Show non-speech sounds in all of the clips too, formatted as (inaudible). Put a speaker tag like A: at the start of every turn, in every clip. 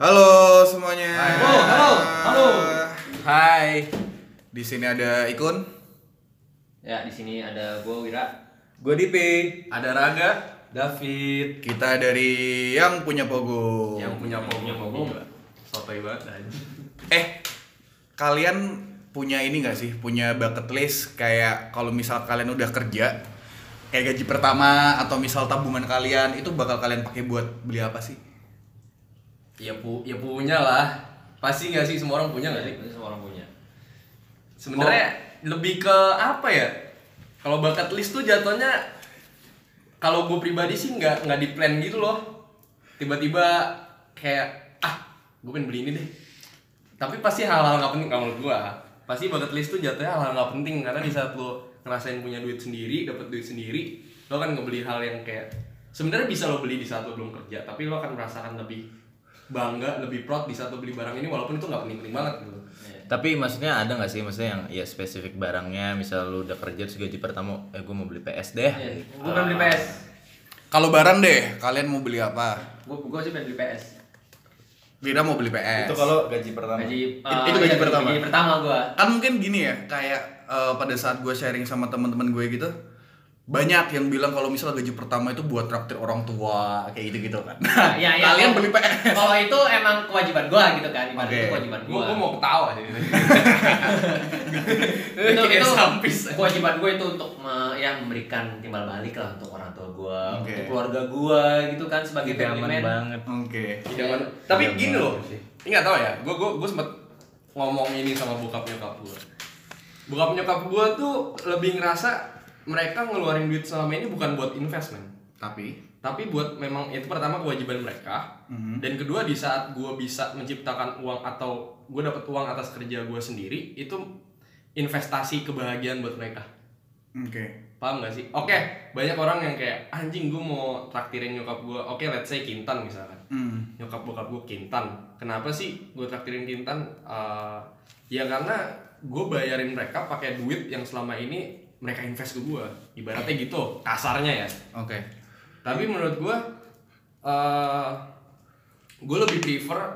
A: Halo semuanya.
B: Halo, halo, halo.
C: Hai.
A: Di sini ada Ikun.
B: Ya, di sini ada gua Wira.
C: Gue Dipi.
D: Ada Raga, David
A: Kita dari yang punya Pogo.
D: yang punya pogo.
B: punya Pogo.
D: Sotoy banget anjing.
A: Eh, kalian punya ini gak sih? Punya bucket list kayak kalau misal kalian udah kerja kayak gaji pertama atau misal tabungan kalian itu bakal kalian pakai buat beli apa sih?
D: Ya pu ya punya lah. Pasti nggak sih semua orang
B: Iya
D: punya Iya nggak sih?
B: Itu semua orang punya.
D: Sebenarnya lebih ke apa ya? Kalau bucket list tuh jatuhnya kalau gue pribadi sih nggak nggak di plan gitu loh. Tiba-tiba kayak ah gue pengen beli ini deh. Tapi pasti hal-hal nggak penting kalau menurut gue. Pasti bucket list tuh jatuhnya hal-hal nggak penting karena di saat lo ngerasain punya duit sendiri, dapat duit sendiri, lo kan ngebeli hal yang kayak sebenarnya bisa lo beli di saat lo belum kerja, tapi lo akan merasakan lebih bangga, lebih proud di saat lo beli barang ini walaupun itu nggak penting-penting banget gitu.
C: Tapi maksudnya ada nggak sih maksudnya yang ya spesifik barangnya misal lu udah kerja terus gaji pertama eh gue mau beli PS deh.
B: Ya, gua pengen beli PS.
A: Kalau barang deh, kalian mau beli apa?
B: Gua gua sih pengen beli PS.
A: Wira mau beli PS.
C: gaji pertama.
A: Itu-
B: Gaji eh,
A: itu gaji
B: iya,
A: pertama.
B: Gaji pertama gua.
A: kan mungkin gini ya kayak eh, pada saat gue sharing sama teman-teman gue gitu banyak yang bilang kalau misalnya gaji pertama itu buat traktir orang tua kayak gitu gitu kan
B: Nah, ya, ya,
A: kalian
B: kalau-
A: beli PS
B: Kalau itu emang kewajiban gua gitu kan, ibarat
A: Oke.
B: itu kewajiban
D: gue
B: gua.
D: gue mau ketawa jadi (laughs)
B: itu
D: Kayak
B: itu
D: sampis.
B: kewajiban gue itu untuk me- ya memberikan timbal balik lah untuk orang tua gue,
A: Oke.
B: untuk keluarga gue gitu kan sebagai
C: Tidak
B: family
C: aman
B: man.
C: banget.
A: oke
D: Jangan, tapi
C: Jangan
D: gini loh
C: sih.
D: ini nggak tahu ya gue gue gue sempet ngomong ini sama bokap nyokap gue bokap nyokap gue tuh lebih ngerasa mereka ngeluarin duit selama ini bukan buat investment
A: tapi
D: tapi buat memang itu pertama kewajiban mereka
A: Mhm.
D: dan kedua di saat gue bisa menciptakan uang atau gue dapat uang atas kerja gue sendiri itu investasi kebahagiaan buat mereka
A: oke
D: paham gak sih? Oke, banyak orang yang kayak anjing gue mau traktirin nyokap gue. Oke, let's say kintan misalkan.
A: Hmm.
D: Nyokap bokap gue kintan. Kenapa sih gue traktirin kintan? Eh, ya karena gue bayarin mereka pakai duit yang selama ini mereka invest ke gue. Ibaratnya gitu, kasarnya ya.
A: oke
D: Tapi menurut gue, eh gue lebih prefer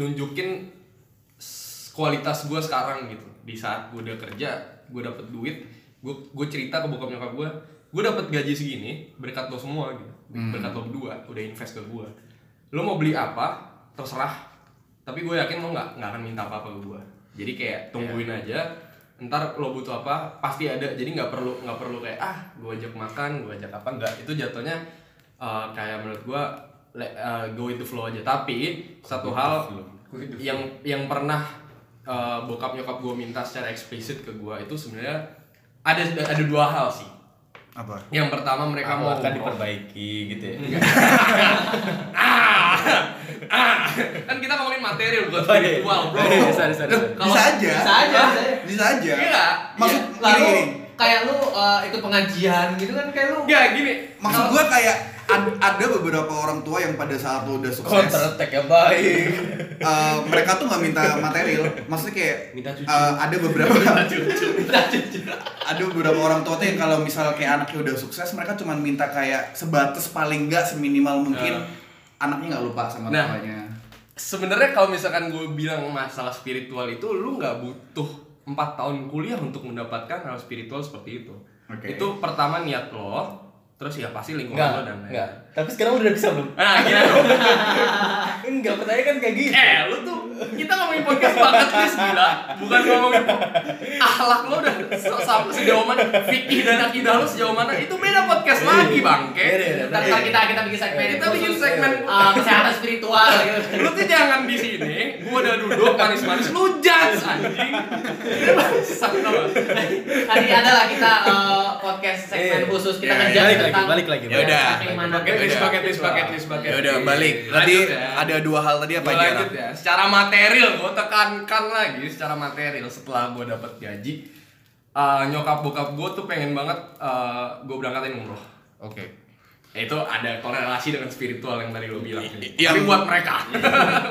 D: nunjukin s- kualitas gue sekarang gitu. Di saat gue udah kerja, gue dapet duit, gue gue cerita ke bokap nyokap gue, gue dapet gaji segini berkat lo semua gitu, berkat lo berdua udah invest ke gue. Lo mau beli apa, terserah. Tapi gue yakin lo nggak nggak akan minta apa apa ke gue. Jadi kayak tungguin aja, ntar lo butuh apa pasti ada. Jadi nggak perlu nggak perlu kayak ah gue ajak makan, gue ajak apa nggak. Itu jatuhnya eh, kayak menurut gue le- eh, go with the flow aja. Tapi satu hal yang yang pernah eh, bokap nyokap gue minta secara eksplisit ke gue itu sebenarnya ada ada dua hal sih
A: apa
D: yang pertama mereka
C: Kamu
D: mau
C: akan diperbaiki gitu ya.
D: ah kan kita ngomongin material bukan
C: Oh, iya.
D: spiritual bro
C: Oh, iya, sorry, sorry, sorry.
D: Kalau-
A: bisa aja
B: Bisa aja. bisa aja.
A: bisa aja
D: Iya.
A: maksud
B: Lalu
A: gini, gini.
B: Ya, kayak lu eh, ikut pengajian gitu kan kayak lu
D: Nggak, gini
A: maksud gue kayak ad- ada beberapa orang tua yang pada saat lo udah sukses
C: Counter attack yang baik.
A: eh, mereka tuh nggak minta material maksudnya kayak
D: Minta cucu.
A: eh, ada beberapa
B: minta cucu.
A: ada beberapa orang tua tuh yang kalau misal kayak anaknya udah sukses mereka cuma minta kayak sebatas paling nggak seminimal mungkin anaknya nggak lupa sama
D: Eh. Nah.
A: bapaknya
D: sebenarnya kalau misalkan gue bilang masalah spiritual itu lu nggak butuh empat tahun kuliah untuk mendapatkan hal spiritual seperti itu
A: Oke.
D: itu pertama niat lo terus ya pasti lingkungan lo
C: Enggak,
D: dan lain
C: enggak. Tapi sekarang udah bisa belum?
D: nah gila dong
C: Enggak, pertanyaan kan kayak gitu.
D: Eh, lu tuh kita ngomongin podcast banget nih gila. Bukan ngomongin akhlak lo dan se- sam- sejauh mana fikih dan akidah lo sejauh mana itu beda podcast lagi, Bangke.
B: Ntar ntar kita kita bikin segmen
D: Kita
B: itu
D: bikin segmen
B: eh, kesehatan spiritual gitu.
D: Lu tuh jangan di sini, gua udah duduk manis-manis lu judge (laughs) anjing. Ini bangsat, tau gak?
B: Tadi ada lah kita eh, podcast segmen
C: Iya.
B: khusus kita
A: Iya,
B: ngejar
C: Balik lagi,
B: tentang
C: balik lagi.
A: Ya udah.
B: keimanan.
D: Bucket list,
A: Yaudah.
D: bucket list, bucket list, bucket
A: ya udah
D: list.
A: balik tadi
D: Lanjut ya.
A: ada dua hal tadi apa
D: Gua
A: aja
D: lanjut ya. Secara material, gue tekankan lagi secara material setelah gue dapet gaji. eh, nyokap bokap gue tuh pengen banget gue berangkatin umroh.
A: oke
D: Ya, itu ada korelasi dengan spiritual yang tadi lo bilang.
A: I- i-
D: Tapi
A: yang-
D: buat
A: (laughs)
D: mereka.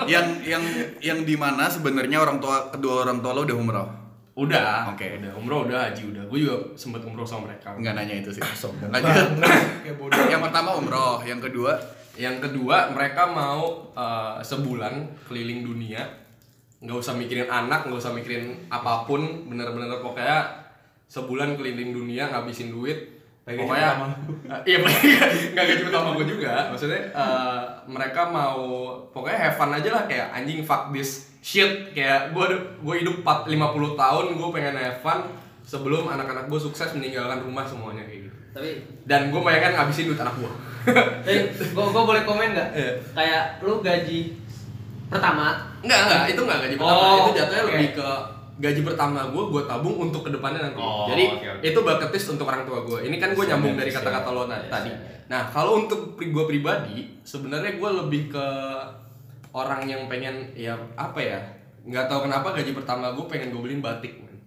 A: yang yang yang dimana sebenarnya orang tua kedua orang tua lo udah umroh
D: udah.
A: Oke.
D: Udah umroh udah haji udah. Gue juga sempet umroh sama
A: Ah, Nah,
D: mereka.
A: ya nggak nanya itu sih lanjut yang pertama umroh yang kedua
D: Yang kedua, mereka mau eh, sebulan keliling dunia, nggak usah mikirin anak, nggak usah mikirin apapun, bener-bener pokoknya sebulan keliling dunia ngabisin duit.
E: Kayak gaji
D: pokoknya,
E: pertama.
D: iya (laughs) nggak nggak gaji pertama gue juga. Maksudnya eh, mereka mau pokoknya have fun aja lah kayak anjing fuck this shit kayak gue gue hidup 4, 50 tahun gue pengen have fun sebelum anak-anak gue sukses meninggalkan rumah semuanya kayak gitu.
B: Tapi
D: Dan gue bayangkan ngabisin duit anak gue. (laughs)
B: tapi gua gua boleh komen nggak?
D: Iya.
B: Kayak lu gaji pertama
D: Enggak, enggak, itu enggak gaji pertama.
B: Oh,
D: itu jatuhnya
B: oke.
D: lebih ke gaji pertama gue gue tabung untuk kedepannya nanti.
B: Oh,
D: Jadi
B: oke, oke.
D: itu bucket list untuk orang tua gue. Ini kan gue
C: Yes,
D: nyambung
C: yes,
D: dari
C: yes,
D: kata-kata lo na-
B: yes,
D: tadi.
B: yes,
D: Nah, kalau untuk pri gue pribadi, sebenarnya gue lebih ke orang yang pengen ya apa ya? Nggak tahu kenapa gaji pertama gue pengen gue beliin batik. man.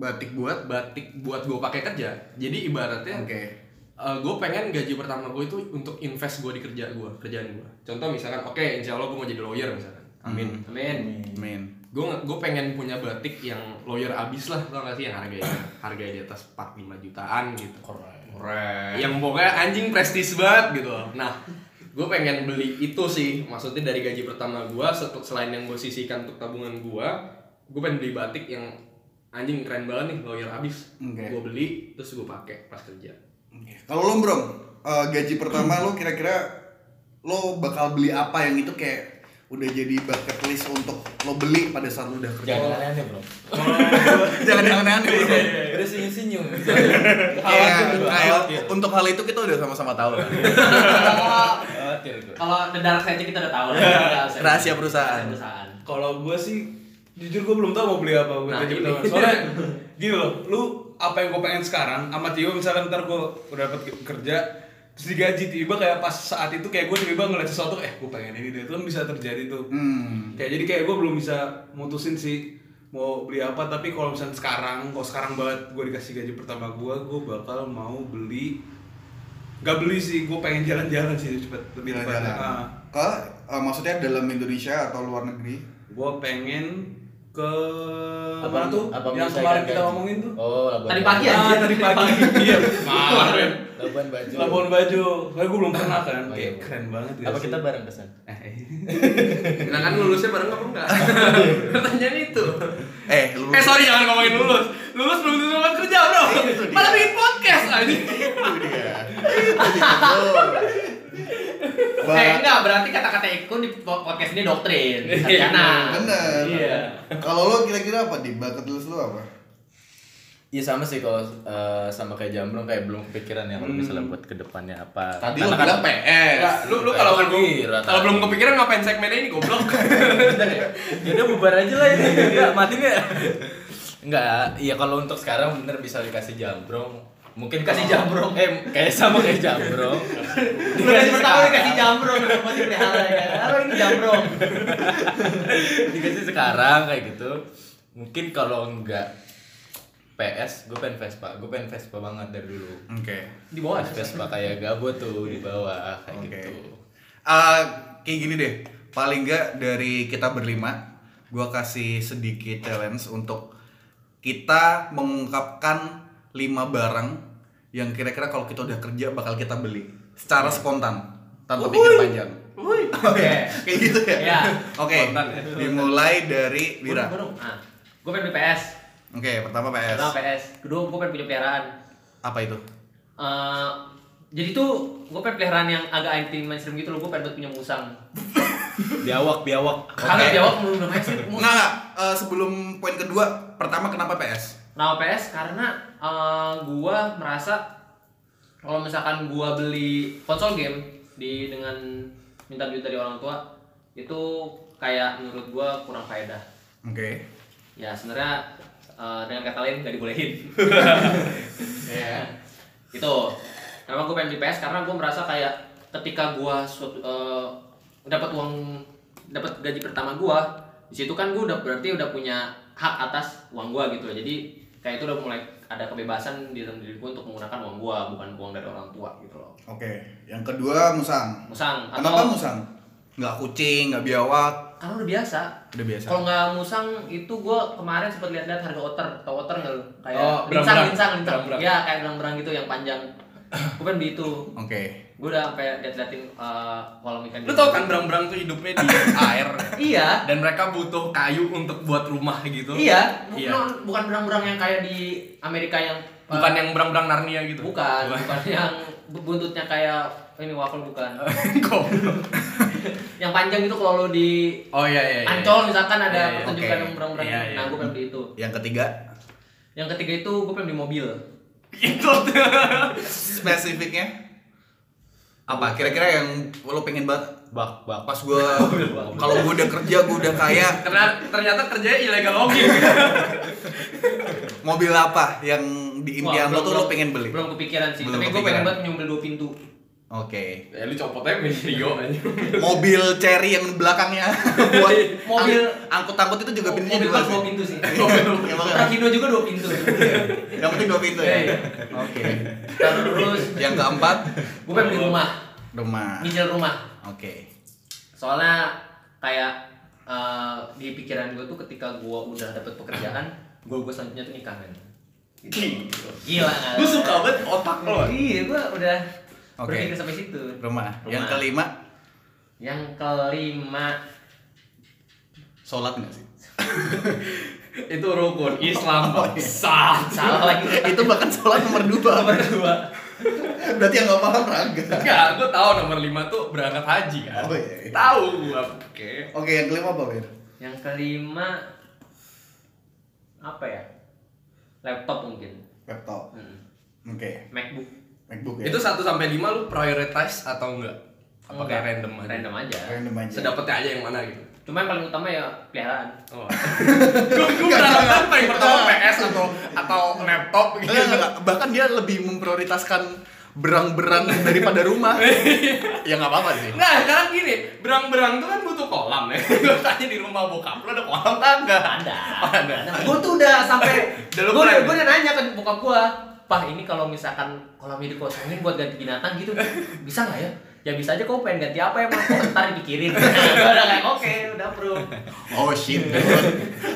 A: Batik buat
D: Batik buat gue pakai kerja. Jadi ibaratnya
A: Oke.
D: gue pengen gaji pertama gue itu untuk invest gue di kerja gue, kerjaan gue. Contoh misalkan, oke, insya Allah gue mau jadi lawyer misalkan. Amin
B: Hmm, Amin.
A: Main.
D: gue gue pengen punya batik yang lawyer abis lah tau gak sih yang harganya harganya di atas 45 jutaan gitu
E: Keren.
D: yang pokoknya anjing prestis banget gitu loh. nah gue pengen beli itu sih maksudnya dari gaji pertama gue selain yang gue sisihkan untuk tabungan gue gue pengen beli batik yang anjing keren banget nih lawyer abis
A: Oke.
D: gue beli terus gue pakai pas kerja
A: Oke. Kalau lo bro, eh, gaji pertama lo kira-kira lo bakal beli apa yang itu kayak udah jadi bucket list untuk lo beli pada saat lo udah kerja.
E: Jangan aneh-aneh bro.
A: Jangan Iya, yang aneh-aneh bro.
C: Eh,
E: Udah senyum-senyum.
A: Kayak,
E: Khawatir gua,
A: kayak
E: khawatir.
A: untuk hal itu kita udah sama-sama tahu. lah.
B: Kalau
E: Khawatir
C: Gitu.
E: gua.
B: kalau the dark side kita udah tahu lah.
C: Iya.
B: Nggak usah-
A: Rahasia perusahaan.
B: Rahasia
C: (laughs)
B: perusahaan.
E: Kalau gue sih jujur gue belum tahu mau beli apa buat
B: Nah,
E: gaji
B: ini.
E: pertama.
B: (laughs)
E: Soalnya gini loh, lu apa yang gue pengen sekarang sama Tio misalkan ntar gue udah dapat kerja terus digaji tiba kayak pas saat itu kayak gue tiba ngeliat sesuatu eh gue pengen ini deh itu kan bisa terjadi tuh
A: Hmm.
E: kayak jadi kayak gue belum bisa mutusin sih mau beli apa tapi kalau misalnya sekarang kalau sekarang banget gue dikasih gaji pertama gue gue bakal mau beli Gak beli sih gue pengen jalan-jalan sih cepet lebih
A: Jalan-jalan.
E: cepet Ah.
A: Ke eh, maksudnya dalam Indonesia atau luar negeri?
E: gue pengen ke
C: Abang-
E: mana tuh
C: abang
E: yang
C: bisa
E: kemarin
C: ikut
E: kita
C: gaji.
E: ngomongin
D: (laughs)
E: tuh
C: Oh, Labuan
B: Tadi
C: Bajo.
B: pagi ya?
E: ah tadi pagi iya
C: Labuan Bajo.
E: Labuan Bajo soalnya gue belum pernah kan
C: Oh, iya,
E: kayak
C: Bu.
E: keren banget
C: Apa
E: sih?
C: kita bareng kesan?
E: Eh, eh.
D: nah kan lulusnya bareng apa
E: (laughs)
D: enggak pertanyaan itu
A: Eh, lu
D: eh sorry jangan ngomongin lulus lulus belum tentu dapat kerja bro
E: Iya,
D: malah bikin podcast anjing
B: Eh
A: Ba-
B: enggak, berarti kata-kata Eko di po- podcast ini doktrin. Sarjana.
A: Bener.
B: Iya.
A: Kalau lo kira-kira apa di bucket list lo apa?
C: Iya sama sih kalau eh, sama kayak Jamrong kayak belum kepikiran ya kalau misalnya buat kedepannya apa.
A: Tadi
C: Karena
A: lo
C: kan-
A: bilang PS.
D: Nggak, lu lu kalau
C: Kayak
D: belum
C: gembira
D: kalau
C: tadi.
D: belum kepikiran ngapain segmennya ini (laughs) goblok. ya?
C: Yaudah bubar aja lah ini. Enggak, mati enggak? Enggak. Iya kalau untuk sekarang bener bisa dikasih jambrong. Mungkin
B: Kasih
C: kalau-
B: jambrong.
C: Eh, kayak sama kayak (laughs) jambrong.
B: Lu dari pertama dikasih jambrong, masih pelihara ya. Iya. Halo ini jambrong.
C: dikasih sekarang kayak gitu. Mungkin kalau enggak PS, gue pengen Vespa. Gue pengen Vespa banget dari dulu.
A: Oke.
C: Di bawah Vespa kayak Gabo tuh di bawah kayak
A: Oke.
C: gitu.
A: Ah, kayak gini deh. Paling nggak dari kita berlima, gua kasih sedikit challenge untuk kita mengungkapkan lima barang yang kira-kira kalau kita udah kerja bakal kita beli secara spontan tanpa pikir panjang. Oke, kayak gitu ya.
B: Iya.
A: (laughs)
B: Iya.
A: Oke,
D: Spontan ya.
A: dimulai dari Wira. Oke,
B: Burung. Ah, gue pengen beli PS.
A: pertama PS.
B: Pertama PS. Kedua gue pengen punya peliharaan.
A: Apa itu?
B: Eh, jadi tuh gue pengen peliharaan yang agak anti mainstream gitu loh. Gue pengen buat punya musang.
C: Biawak, biawak.
B: Kalau jawab belum mainstream.
A: Nggak, nggak. Eh, sebelum poin kedua, pertama kenapa PS?
B: Nah PS karena eh, gua merasa kalau misalkan gua beli konsol game di dengan minta duit dari orang tua itu kayak menurut gua kurang faedah.
A: Oke.
B: Ya sebenarnya eh, dengan kata lain nggak dibolehin. ya. Itu. Kenapa gua pengen beli PS karena gua merasa kayak ketika gua suatu eh, dapat uang dapat gaji pertama gua di situ kan gua udah berarti udah punya hak atas uang gua gitu loh. Jadi kayak itu udah mulai ada kebebasan di dalam diri gua untuk menggunakan uang gua bukan uang dari orang tua gitu loh.
A: Oke, yang kedua musang.
B: Musang
A: Kenapa
B: atau
A: musang? Nggak kucing, nggak biawak,
B: karena udah biasa.
A: udah biasa.
B: Kalau nggak musang itu gua kemarin sempat lihat-lihat harga otter, tau otter nggak lu? Kayak
D: Oh,
B: lincang,
D: berang-berang.
B: lincang, lincang.
D: Berang-berang.
B: Ya kayak berang-berang gitu yang panjang. Gua pengen beli itu.
A: Oke.
B: gue udah sampai liat-liatin eh, kolam ikan gitu.
D: Lu tau kan berang-berang tuh hidupnya di air
B: iya
D: dan mereka butuh kayu untuk buat rumah gitu.
B: iya, Bu-
D: Iya.
B: no, bukan berang-berang yang kayak di Amerika yang eh,
D: Bukan yang berang-berang Narnia gitu.
B: bukan bukan yang bu- buntutnya kayak ini waffle bukan
D: Oh. Kok.
B: yang panjang itu kalau lu di
D: Oh iya iya. iya.
B: Ancol misalkan ada
D: Iya, iya,
B: pertunjukan
A: oke.
B: yang berang-berang
D: Iya, iya.
B: nah gue pengen di itu
A: Yang ketiga,
B: yang ketiga itu gue pengen di mobil
D: Itu tuh.
A: spesifiknya apa kira-kira yang lo pengen banget
C: Bak bak.
A: pas gua
B: (laughs)
A: kalau gua udah kerja gua udah kaya
D: Karena ternyata kerjanya ilegal logging.
A: mobil apa yang di impian
B: Wah,
A: lo tuh
B: belum-
A: lo pengen beli
B: belum kepikiran sih
A: Belum
B: tapi gue pengen
A: kepikiran.
B: banget punya mobil dua pintu
A: oke
D: ya lu copot aja main trio aja.
A: mobil cherry yang
B: (laughs)
A: belakangnya buat
B: Iya, Mobil-
A: angkut-angkut itu juga pintunya
B: mobil
A: dua
B: pas
A: sih.
B: dua pintu sih
A: (laughs) Iya, makanya.
B: Rakido juga dua pintu
A: iya, yang penting dua pintu
B: Iya,
A: ya
B: iya.
A: oke
B: terus
A: yang keempat
B: gue pengen beli rumah
A: rumah
B: nyicil rumah
A: oke
B: soalnya kayak eh, di pikiran gue tuh ketika gue udah dapet pekerjaan gue gue selanjutnya tuh nikahan gila nggak?
D: Gue suka banget otak lo.
B: iya gue udah
A: kan? Oke.
B: berpikir sampai situ
A: rumah yang
B: Rumah.
A: kelima
B: yang kelima
A: sholat nggak sih
D: Itu rukun Oh, iya. Islam sah.
B: salah lagi
A: itu bahkan sholat nomor dua
B: nomor
A: (laughs)
B: dua
A: berarti yang nggak paham raga
D: Enggak, gue tahu nomor 5 tuh berangkat haji kan.
A: Oh, iya, iya.
D: Tahu gua. Oke.
A: oke yang kelima apa Ben?
B: yang kelima apa ya laptop mungkin
A: laptop
B: Mm.
A: oke
B: macbook
A: macbook ya
D: Itu 1 sampai 5 lu prioritize atau enggak? Apa
B: Enggak.
D: kayak random aja?
B: random aja
A: random aja
D: Sedapatnya aja yang mana gitu.
B: cuma yang paling utama ya peliharaan
D: (laughs) Oh. Gue gue berangkat paling pertama PS atau atau laptop gitu.
A: Enggak, enggak, enggak. bahkan dia lebih memprioritaskan berang-berang daripada rumah ya nggak apa-apa sih
D: Nah, sekarang gini, berang-berang tuh kan butuh kolam ya. (laughs) Gue tanya di rumah bokap lo ada kolam kagak?
B: ada
D: Ada.
B: gue tuh udah sampai
D: (laughs) Udah
B: gue
D: lu
B: udah
D: plan.
B: gue udah nanya ke bokap gue pah ini kalau misalkan kolamnya dikosongin buat ganti binatang gitu bisa nggak ya ya bisa aja kau pengen ganti apa emang kok ntar dipikirin (laughs) Nah, gue udah kayak oke udah bro
A: oh shit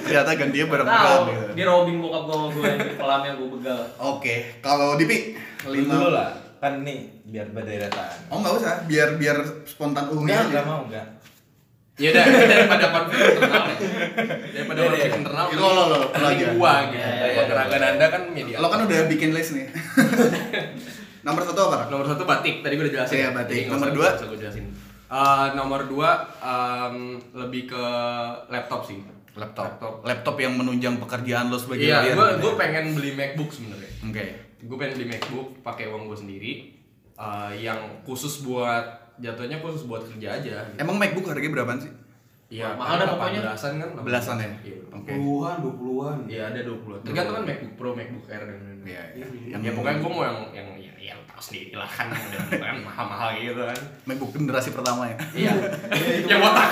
A: ternyata gantinya
B: tahu
A: berang-berang
D: ya.
A: gitu.
B: di robbing bokap gue sama gue di kolamnya gue begal
A: Oke, kalau Dipi
C: Lima
A: lima.
C: lah. Kan nih biar berderetan.
E: iya.
A: Oh nggak usah, biar biar spontan umi
C: Enggak, enggak
A: aja.
C: mau enggak.
D: Ya udah, (laughs) daripada konflik internal. ya. Daripada
C: Iya,
D: konflik
C: iya.
D: internal.
A: Itu lo, lo, lo, lo
D: mending
A: aja.
D: Gua gitu.
B: Iya, iya,
D: Kalau
C: iya.
D: Raga Nanda kan media.
A: Lo kan udah bikin list nih. Nomor satu apa? Rak?
D: Nomor satu batik, tadi gue udah jelasin.
A: Iya,
D: Jadi
A: batik.
D: nggak
A: Nomor
D: usah-
A: dua?
D: nggak usah gue jelasin. Eh, nomor dua em, lebih ke laptop sih. Laptop.
A: Laptop. Laptop yang menunjang pekerjaan lo sebagai lawyer.
D: Iya, gue gue pengen beli MacBook sebenarnya.
A: Oke.
D: Gue pengen beli MacBook pakai uang gue sendiri, eh, yang khusus buat jatuhnya khusus buat kerja aja.
A: Emang MacBook harganya berapaan sih?
D: Iya,
B: Mahal dah pokoknya.
D: Belasan kan?
A: Belasan ya.
D: Iya.
A: Oke.
E: puluhan dua puluhan
D: Iya ada 20 Tergantung kan MacBook Pro, MacBook Air dan lain-lain.
A: Iya, iya.
D: Yang ya, pokoknya gue mau yang yang yang, yang tahu sendiri lah kan,
A: (laughs)
D: model gitu kan mahal-mahal gitu kan.
A: MacBook generasi pertama ya.
D: Iya. yang botak.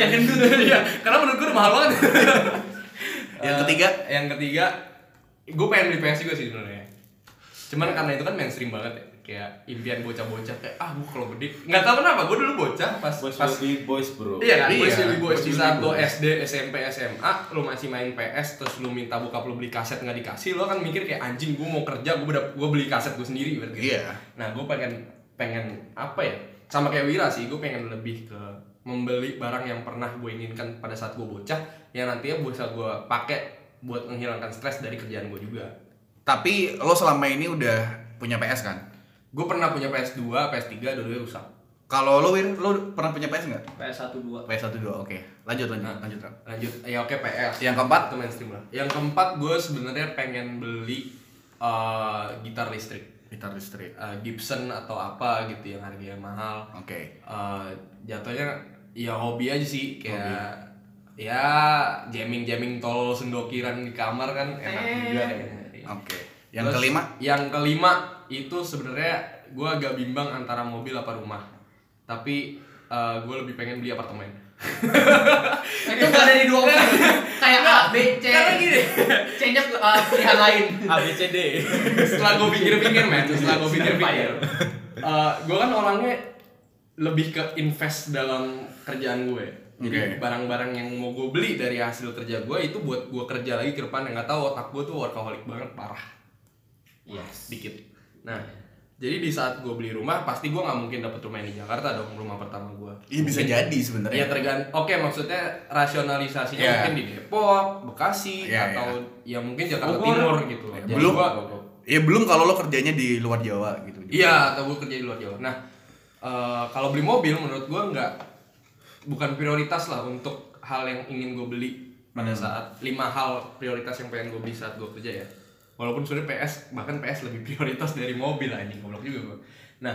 D: yang gendut. Iya. Karena menurut gue udah mahal banget.
A: (laughs) Yang
D: Eh,
A: ketiga?
D: yang ketiga, gue pengen beli PS juga sih sebenarnya. Cuman karena itu kan mainstream banget ya. Kayak impian bocah-bocah kayak ah gue kalau gede nggak tahu kenapa gue dulu bocah pas
C: Boys
D: pas
C: boys, boys bro.
D: Iya kan,
A: Iya.
D: boys will be boys di
C: Boys will
D: saat
C: be
D: lo
C: boys.
D: SD, SMP, SMA, lo masih main PS, terus lo minta bokap lo beli kaset nggak dikasih, lo kan mikir kayak anjing gue mau kerja, gue gue beli kaset gue sendiri berarti.
A: Iya.
D: Nah gue pengen pengen apa ya? Sama kayak Wira sih, gue pengen lebih ke membeli barang yang pernah gue inginkan pada saat gue bocah, yang nantinya bisa gue pakai buat menghilangkan stres dari kerjaan gue juga.
A: Tapi lo selama ini udah punya PS kan?
D: Gue pernah punya PS2, PS3, dua-duanya rusak.
A: Kalau lo Wir, lo pernah punya PS nggak? Ah.
B: PS satu dua
A: PS 12 oke. Lanjut lanjut
D: Nah.
A: lanjut. Rak.
D: lanjut ya oke PS
A: Yang keempat?
D: itu mainstream lah yang keempat gue sebenarnya pengen beli eh, gitar listrik
A: Gitar listrik.
D: Eh, Gibson atau apa gitu yang harganya mahal
A: Oke.
D: Eh, jatuhnya ya hobi aja sih kayak ya jamming jamming tol sendokiran di kamar kan enak juga ya.
A: Oke. Yang
D: Terus,
A: kelima?
D: Yang kelima itu sebenarnya gue agak bimbang antara mobil apa rumah. Tapi gue lebih pengen beli apartemen.
B: itu nggak ada di dua opsi (laughs) kayak A B C
D: Karena gini.
B: C nya eh, pilihan lain
C: A B C D.
D: setelah gue pikir-pikir
A: (laughs)
D: men, setelah gue
A: ya?
D: pikir-pikir,
B: Fire.
D: gue kan orangnya lebih ke invest dalam kerjaan gue.
A: Oke.
D: Jadi barang-barang yang mau gue beli dari hasil kerja gue itu buat gue kerja lagi ke depan. Yang nggak tahu otak gue tuh workaholic banget parah.
B: yes
D: dikit. Nah, Jadi di saat gue beli rumah, pasti gue nggak mungkin dapet rumah yang di Jakarta dong, rumah pertama gue.
A: Iya bisa jadi sebenarnya.
D: Ya tergan, oke maksudnya rasionalisasinya
A: Iya.
D: mungkin di Depok, Bekasi,
A: Iya,
D: atau ya mungkin Jakarta
B: Bogor.
D: Timur gitu.
A: Ya,
D: Jadi
A: belum.
D: gua-
A: Ya belum kalau lo kerjanya di luar Jawa gitu.
D: Iya, atau gue kerja di luar Jawa. Nah, eh, kalau beli mobil menurut gue nggak bukan prioritas lah untuk hal yang ingin gue beli pada
A: Hmm.
D: saat lima hal prioritas yang pengen gue beli saat gue kerja ya. Walaupun sebenarnya PS bahkan PS lebih prioritas dari mobil anjing goblok juga gue. Nah,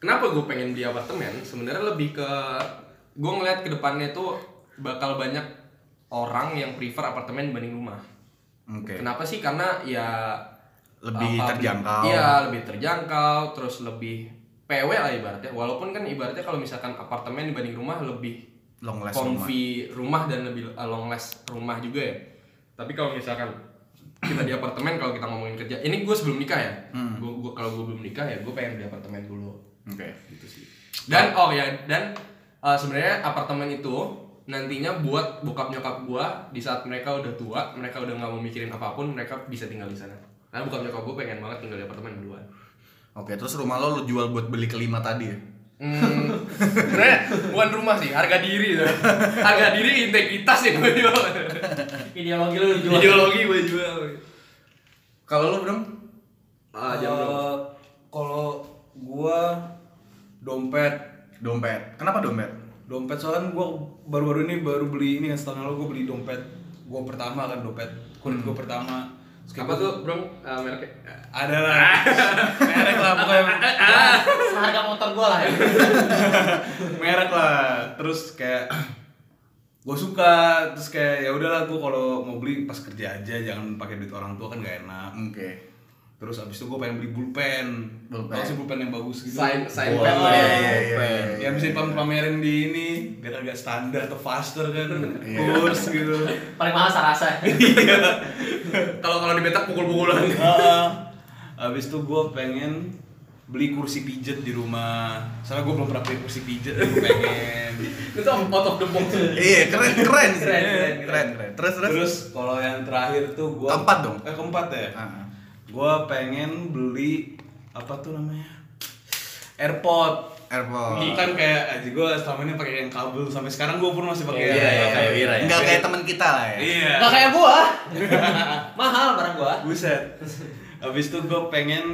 D: kenapa gue pengen beli apartemen? Sebenarnya lebih ke gue ngeliat ke depannya tuh bakal banyak orang yang prefer apartemen dibanding rumah.
A: Oke.
D: Kenapa sih? Karena ya
A: Lebih
D: apa,
A: terjangkau.
D: Iya, lebih terjangkau, terus lebih PW lah ibaratnya. Walaupun kan ibaratnya kalau misalkan apartemen dibanding rumah lebih
A: Long last
D: comfy rumah. dan lebih eh, long last rumah juga ya. Tapi kalau misalkan kita di apartemen kalau kita ngomongin kerja, ini gue sebelum nikah ya.
A: Hmm.
D: Gue gue kalau gue belum nikah ya gue pengen beli apartemen dulu
A: Oke.
D: gitu sih. Dan oh ya dan uh, sebenarnya apartemen itu nantinya buat bokap nyokap gua di saat mereka udah tua, mereka udah nggak mau mikirin apapun, mereka bisa tinggal di sana. Karena bokap nyokap gua pengen banget tinggal di apartemen berdua.
A: Oke, terus rumah lo lo jual buat beli kelima tadi ya?
D: Hmm, (laughs) sebenarnya bukan rumah sih, harga diri tuh. (laughs) Harga diri integritas ya, yang gue jual.
B: Ideologi lu jual.
D: Ideologi gue jual.
A: Kalau lo belum?
D: Ah, jam berapa?
E: Eh, kalau gua dompet
A: Dompet. Kenapa dompet?
E: dompet soalnya kan gua baru-baru ini baru beli ini kan setahun lalu gua beli dompet gua pertama kan dompet kulit gua pertama Terus kayak
D: Apa
E: gua-
D: tuh, Bro? Ah, mereknya.
E: ada lah (laughs) merek lah pokoknya
B: Seharga motor gua lah ya.
E: merek lah terus kayak gue suka terus kayak ya udahlah gue kalau mau beli pas kerja aja jangan pakai duit orang tua kan gak enak
A: Oke.
E: terus abis itu gue pengen beli pulpen
A: Pulpen.
E: Tau sih pulpen yang bagus gitu
D: Sign sign
E: Wah,
D: pen lah ya.
A: iya, iya, iya,
D: Pen.
A: iya.
E: yang bisa dipamerin di ini biar agak standar atau faster kan
A: Iya.
E: kurs gitu
B: Paling mahal sarasa.
D: Kalau kalau di betak pukul-pukulan.
E: Heeh. abis itu gue pengen beli kursi pijet di rumah soalnya gue belum pernah beli kursi pijet
C: (laughs)
E: gue pengen
D: Itu out of the box.
A: Iya, keren keren.
E: Keren, keren,
A: keren, keren. Terus terus.
E: Terus kalau yang terakhir tuh gua
A: Keempat dong?
E: Eh keempat ya.
A: Ah.
E: Gua pengen beli apa tuh namanya? AirPod.
C: Oh.
A: Airpod.
E: Kan kayak aja gua selama ini pakai yang kabel sampai sekarang gua pun masih pakai.
C: Iya,
E: yang
C: iya,
E: kabel.
C: kayak Wira ya.
A: Enggak kayak teman kita lah ya.
E: Iya.
B: Gak kayak gua. mahal barang gua.
E: Buset. Habis itu gua pengen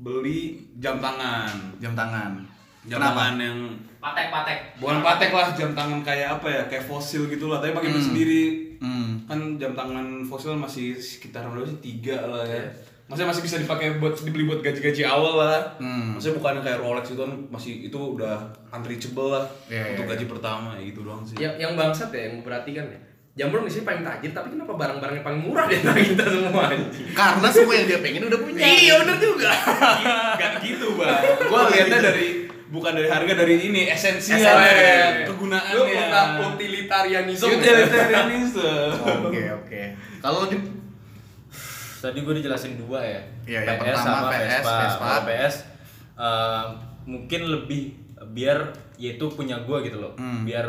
E: beli jam tangan.
A: Jam tangan.
E: Jam tangan yang
B: Patek-patek.
E: bukan patek lah jam tangan kayak apa ya? Kayak fosil gitu lah, tapi pakai duit sendiri.
A: Hmm.
E: kan jam tangan fosil masih sekitar berapa sih tiga lah
A: Iya.
E: ya maksudnya masih bisa dipakai buat dibeli buat gaji-gaji awal lah
A: Hmm.
E: maksudnya bukan kayak Rolex itu kan masih itu udah unreachable lah
A: Iya,
E: untuk
A: iya,
E: gaji pertama ya gitu doang sih
D: yang, yang bangsat ya yang gue perhatikan ya Jambrong di sini paling tajir tapi kenapa barang-barangnya paling murah di antara kita semua anjing?
A: Karena semua yang dia pengen udah punya.
D: iya bener juga
E: gak gitu bang gua liatnya dari bukan dari harga dari ini esensinya
A: Esensinya.
E: Ren. Iya, kegunaannya
D: ya?
E: Iya,
D: lu utang utilitarianism
E: utilitarianism
A: Oke, oke. Kalau di
C: Tadi gue dijelasin dua ya.
A: Iya, yang pertama PS, Vespa.
C: Kalau PS eh, mungkin lebih biar yaitu punya gue gitu loh.
A: Hmm.
C: Biar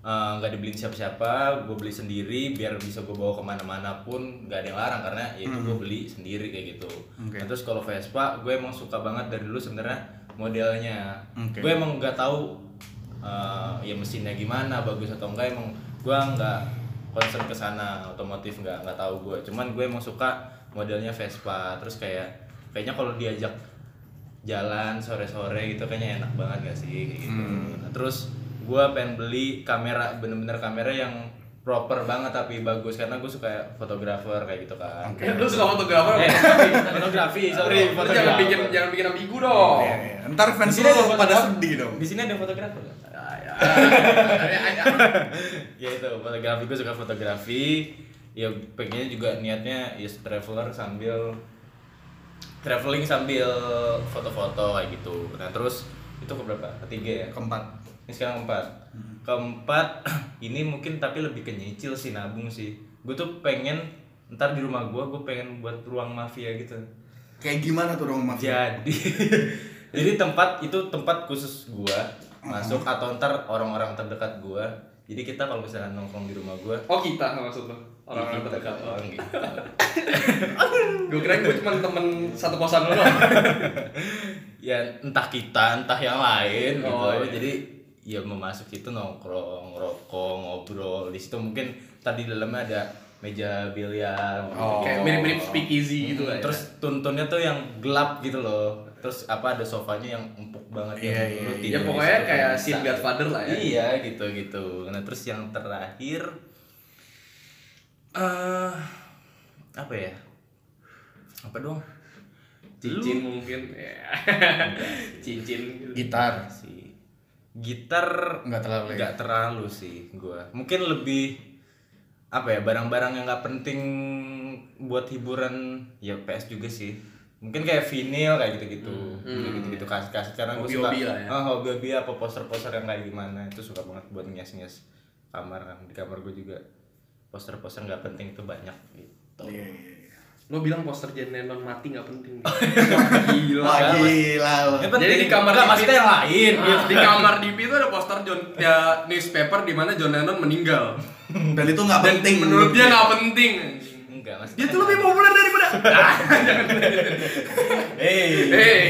C: eh, nggak dibeliin siapa-siapa, gue beli sendiri, biar bisa gue bawa kemana-mana pun nggak ada yang larang karena yaitu gue
A: Hmm.
C: beli sendiri kayak gitu. Nah, terus kalau Vespa, gue emang suka banget dari dulu sebenarnya modelnya.
A: Oke.
C: Gue emang nggak tahu eh, ya mesinnya gimana, bagus atau enggak emang gue nggak concern ke sana otomotif nggak nggak tahu gue cuman gue emang suka modelnya Vespa terus kayak kayaknya kalau diajak jalan sore-sore gitu kayaknya enak banget gak sih kayak gitu Nah, terus gue pengen beli kamera bener-bener kamera yang proper banget tapi bagus karena gue suka fotografer kayak gitu kan
A: Oke.
D: (laughs) lu suka fotografer
C: eh,
D: Lu
C: fotografi sorry
D: jangan
C: fotografer
D: bikin jangan bikin ambigu dong
A: Iya, iya. Ntar
C: Di
A: fans
C: sini
A: lo
C: ada
A: pada
C: fotografer.
A: sedih dong.
C: di sini ada fotografer nggak?
D: Ah, ya. Ya, ya.
C: ya itu fotografi gue suka fotografi ya pengennya juga niatnya ya traveler sambil traveling sambil foto-foto kayak gitu nah terus itu keberapa ketiga ya
A: Keempat.
C: ini sekarang keempat keempat (clears throat) ini mungkin tapi lebih ke nyicil sih nabung sih gue tuh pengen ntar di rumah gue gue pengen buat ruang mafia gitu
A: Kayak gimana tuh dong
E: Iya,
A: maksudnya?
C: jadi (laughs) jadi tempat itu tempat khusus gua masuk atau ntar orang-orang terdekat gua jadi kita kalau misalnya nongkrong di rumah gua
D: oh kita maksud lu orang-orang terdekat
C: orang gitu.
D: gue kira gue cuma temen satu kosan lo
C: ya entah kita entah yang lain gitu
D: Oh, iya.
C: jadi ya memasuk itu nongkrong rokok ngobrol di situ mungkin tadi dalamnya ada meja biliar
A: Oh.
D: kayak mirip-mirip speakeasy gitu lah ya.
C: terus tuntunnya tuh yang gelap gitu loh terus apa ada sofanya yang empuk
A: Iya,
C: banget yang
A: iya,
C: lu
A: iya.
D: ya
C: tidur di
D: pokoknya
C: situ
D: kayak
C: bisa.
D: scene Godfather lah ya
C: iya gitu gitu nah terus yang terakhir eh apa ya apa dong
D: cincin mungkin
B: (laughs)
D: ya. cincin gitu.
A: gitar
C: si gitar
A: nggak terlalu ya
C: nggak terlalu sih gua mungkin lebih apa ya barang-barang yang nggak penting buat hiburan ya PS juga sih mungkin kayak vinil kayak gitu-gitu
D: Hmm.
C: gitu-gitu kaset kaset karena gue suka
D: Hobi-hobi lah ya.
C: Ah, hobi-hobi apa poster-poster yang kayak gimana itu suka banget buat ngias-ngias kamar di kamar gue juga poster-poster nggak penting tuh banyak gitu
A: Iya, iya, iya.
D: lo bilang poster John Lennon mati nggak penting
E: iya.
A: Wah,
D: gila
A: gila lu.
C: Ya,
D: Jadi
C: penting.
D: di kamar
C: Nggak,
D: TV
C: maksudnya yang lain
D: di kamar DP itu ada poster John ya, newspaper di mana John Lennon meninggal
A: Dan itu nggak
D: dan
A: penting
D: menurut dia nggak penting
C: enggak mas
D: dia tuh lebih populer daripada Ah, (laughs) jangan.
C: hey.
D: Eh.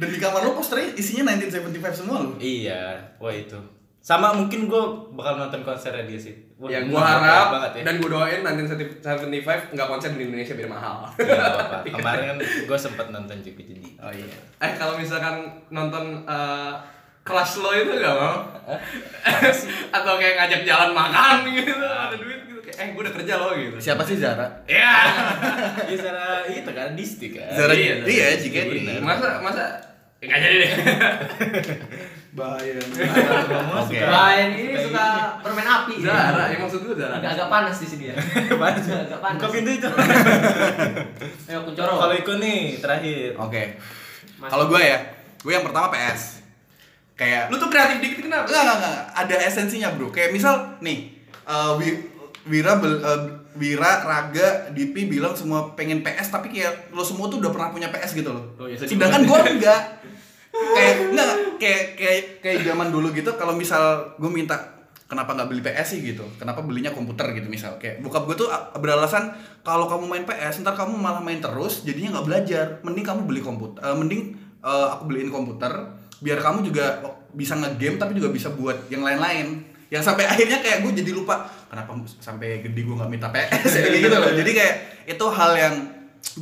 A: Dan di kamar lu posternya isinya 1975 semua lu.
C: iya wah itu sama mungkin gue bakal nonton konsernya dia sih Wah,
D: Ya
C: ini
D: gua
C: bakal
D: harap
C: banget (laughs) ya.
D: dan gua doain nanti 75 nggak konser di Indonesia biar mahal. (laughs)
C: Nggak apa-apa. Kemarin kan gue sempat nonton juga jadi.
D: Oh iya. Eh kalau misalkan nonton eh, kelas lo itu gak mau? Atau kayak ngajak jalan makan gitu, ada duit gitu. Kayak, eh gue udah kerja lo gitu.
A: Siapa sih Zara?
D: Ya.
C: Iya Zara itu kan distik kan.
A: Zara
D: iya,
A: iya, iya,
C: bener.
A: JKT.
D: Masa masa ya, nggak jadi deh.
E: bahaya
C: Kamu
A: Oke.
C: suka
B: Lain ini suka permen api.
D: Zara, ya maksud gue Zara.
B: Agak, agak panas di sini ya.
C: Panas.
B: agak panas.
C: Buka pintu itu.
B: Ayo kuncoro.
C: Kalau ikut nih terakhir.
A: Oke.
B: Mas-
A: Kalau gue ya, gue yang pertama PS. Kayak
D: Lu tuh kreatif dikit kenapa?
A: Enggak, enggak, enggak. Ada esensinya, Bro. Kayak misal nih, eh, Wi- Wira bel- eh, Wira, Raga, Dipi bilang semua pengen PS tapi kayak lo semua tuh udah pernah punya PS gitu loh.
D: Oh, iya, sedih
A: Sedangkan gue enggak. Kayak enggak kayak kayak kayak zaman dulu gitu kalau misal gue minta kenapa nggak beli PS sih gitu kenapa belinya komputer gitu misal kayak bokap gue tuh a- beralasan kalau kamu main PS ntar kamu malah main terus jadinya nggak belajar mending kamu beli komputer eh, mending eh, aku beliin komputer biar kamu juga bisa ngegame tapi juga bisa buat yang lain-lain yang sampai akhirnya kayak gue jadi lupa kenapa sampai gede gue nggak minta PS (laughs) ya, kayak gitu loh jadi kayak itu hal yang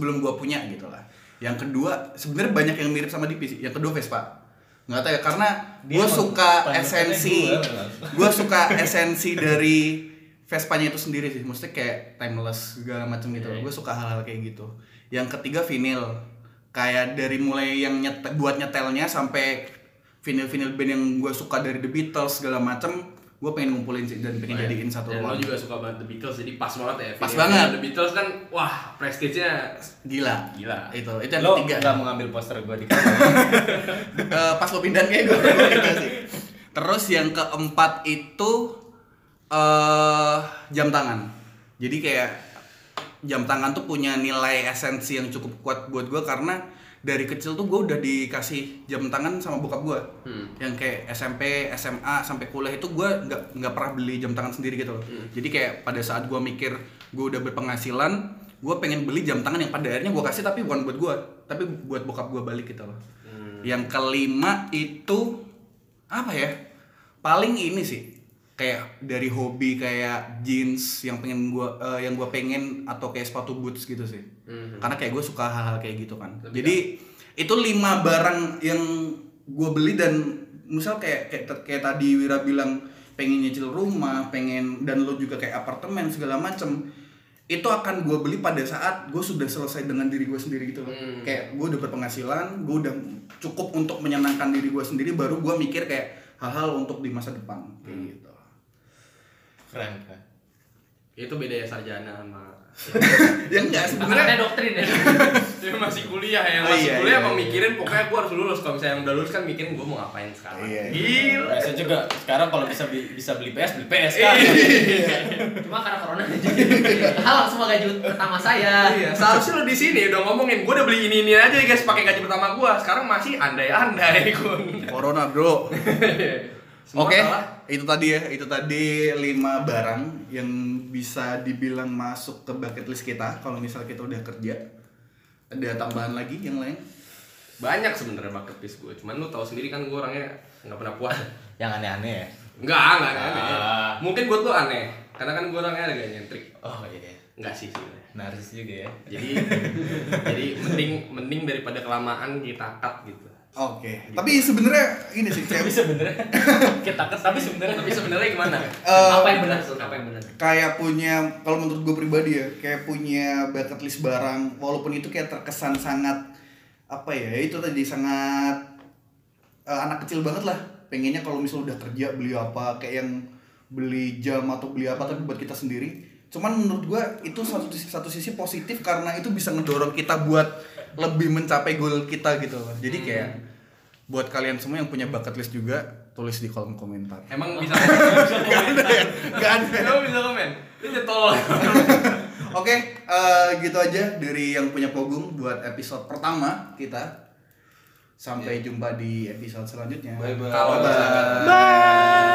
A: belum gue punya gitu lah yang kedua sebenarnya banyak yang mirip sama Dipi sih yang kedua Vespa nggak tahu ya karena
C: Dia
A: gue
C: mau
A: suka
C: panjangnya
A: esensi
C: gua, ya, Bang.
A: gue suka esensi dari Vespanya itu sendiri sih maksudnya kayak timeless segala macam
D: Iya,
A: gitu gue suka hal-hal kayak gitu yang ketiga vinil kayak dari mulai yang nyet- buat nyetelnya sampai vinil-vinil band yang gue suka dari The Beatles segala macam gue pengen ngumpulin sih dan pengen jadiin satu
D: Iya. Dan lo
A: ruang
D: juga suka banget The Beatles, jadi pas banget ya.
A: Pas
D: Vinil.
A: banget.
D: The Beatles kan, wah prestige-nya
A: gila
D: Gila.
A: itu itu yang
C: Lo
A: ketiga
C: nggak mau ngambil poster gue di kamar.
A: Eh, pas lo pindahan kayak gue gitu sih. Terus yang keempat itu eh jam tangan. Jadi kayak jam tangan tuh punya nilai esensi yang cukup kuat buat gue karena dari kecil tuh gue udah dikasih jam tangan sama bokap gue. Yang kayak SMP, SMA sampai kuliah itu gue nggak nggak pernah beli jam tangan sendiri gitu loh. Jadi kayak pada saat gue mikir gue udah berpenghasilan, gue pengen beli jam tangan yang pada akhirnya gue kasih tapi bukan buat gue, tapi buat bokap gue balik gitu loh. Yang kelima itu apa ya? Paling ini sih kayak dari hobi kayak jeans yang pengen gua eh, yang gua pengen atau kayak sepatu boots gitu sih. Karena kayak gue suka hal-hal kayak gitu kan. Jadi itu lima barang yang gua beli dan misal kayak kayak, kayak tadi Wira bilang pengen nyicil rumah, pengen dan lo juga kayak apartemen segala macem itu akan gue beli pada saat gue sudah selesai dengan diri gue sendiri gitu loh
D: Hmm.
A: kayak gue udah berpenghasilan gue udah cukup untuk menyenangkan diri gue sendiri baru gue mikir kayak hal-hal untuk di masa depan kayak
D: Hmm.
A: gitu (laughs)
C: Keren kan.
D: itu beda ya sarjana sama
A: ya enggak
B: Karena ada
D: (laughs)
A: sebenarnya
B: doktrin ya.
D: Dia masih kuliah (laughs) ya,
A: Oh,
D: masih
A: iya,
D: kuliah
A: iya,
D: emang
A: iya.
D: mikirin pokoknya gue harus lulus. Kalau misalnya yang udah lulus kan mikirin gue mau ngapain sekarang.
A: Iya, iya.
D: Gila.
C: Biasa juga sekarang kalau bisa beli, bisa beli PS beli PS
A: Iya.
C: kan.
B: Cuma karena corona jadi halang semua gaji pertama saya.
D: Iya, seharusnya lo di sini udah ngomongin gue udah beli ini ini aja ya guys pakai gaji pertama gue. Sekarang masih andai-andai (laughs) kun.
A: corona bro oke
D: Semua salah.
A: itu tadi ya itu tadi lima barang yang bisa dibilang masuk ke bucket list kita kalau misal kita udah kerja. Ada tambahan lagi yang lain?
D: Banyak sebenarnya bucket list gue, cuman lu tahu sendiri kan gue orangnya nggak pernah puas.
C: Yang aneh-aneh ya.
D: Enggak, enggak aneh.
C: Ah.
D: Mungkin buat lu aneh, karena kan gue orangnya agak nyentrik.
C: Oh iya.
D: Enggak sih sebenarnya.
C: Narsis juga ya.
D: Jadi jadi mending mending daripada kelamaan kita cut gitu.
A: Oke. Tapi sebenarnya ini sih kayak
C: Tapi sebenarnya kita ket- tapi sebenarnya
D: Tapi sebenarnya gimana?
A: eh,
B: apa yang benar Sur? apa yang benar
A: kayak punya kalau menurut gue pribadi ya kayak punya bucket list barang walaupun itu kayak terkesan sangat apa ya itu tadi sangat eh, anak kecil banget lah pengennya kalau misal udah kerja beli apa kayak yang beli jam atau beli apa tapi buat kita sendiri cuman menurut gue itu satu sisi, satu sisi positif karena itu bisa ngedorong kita buat lebih mencapai goal kita gitu loh jadi kayak buat kalian semua yang punya bucket list juga tulis di kolom komentar
D: (laughs) Emang bisa bisa komen?
A: Gak ada.
D: Emang bisa komen? Lu nyetol.
A: Oke, eh, gitu aja dari yang punya Pogung buat episode pertama kita. Sampai jumpa di episode selanjutnya.
E: Bye-bye.
D: Kalau misalkan-
A: Bye.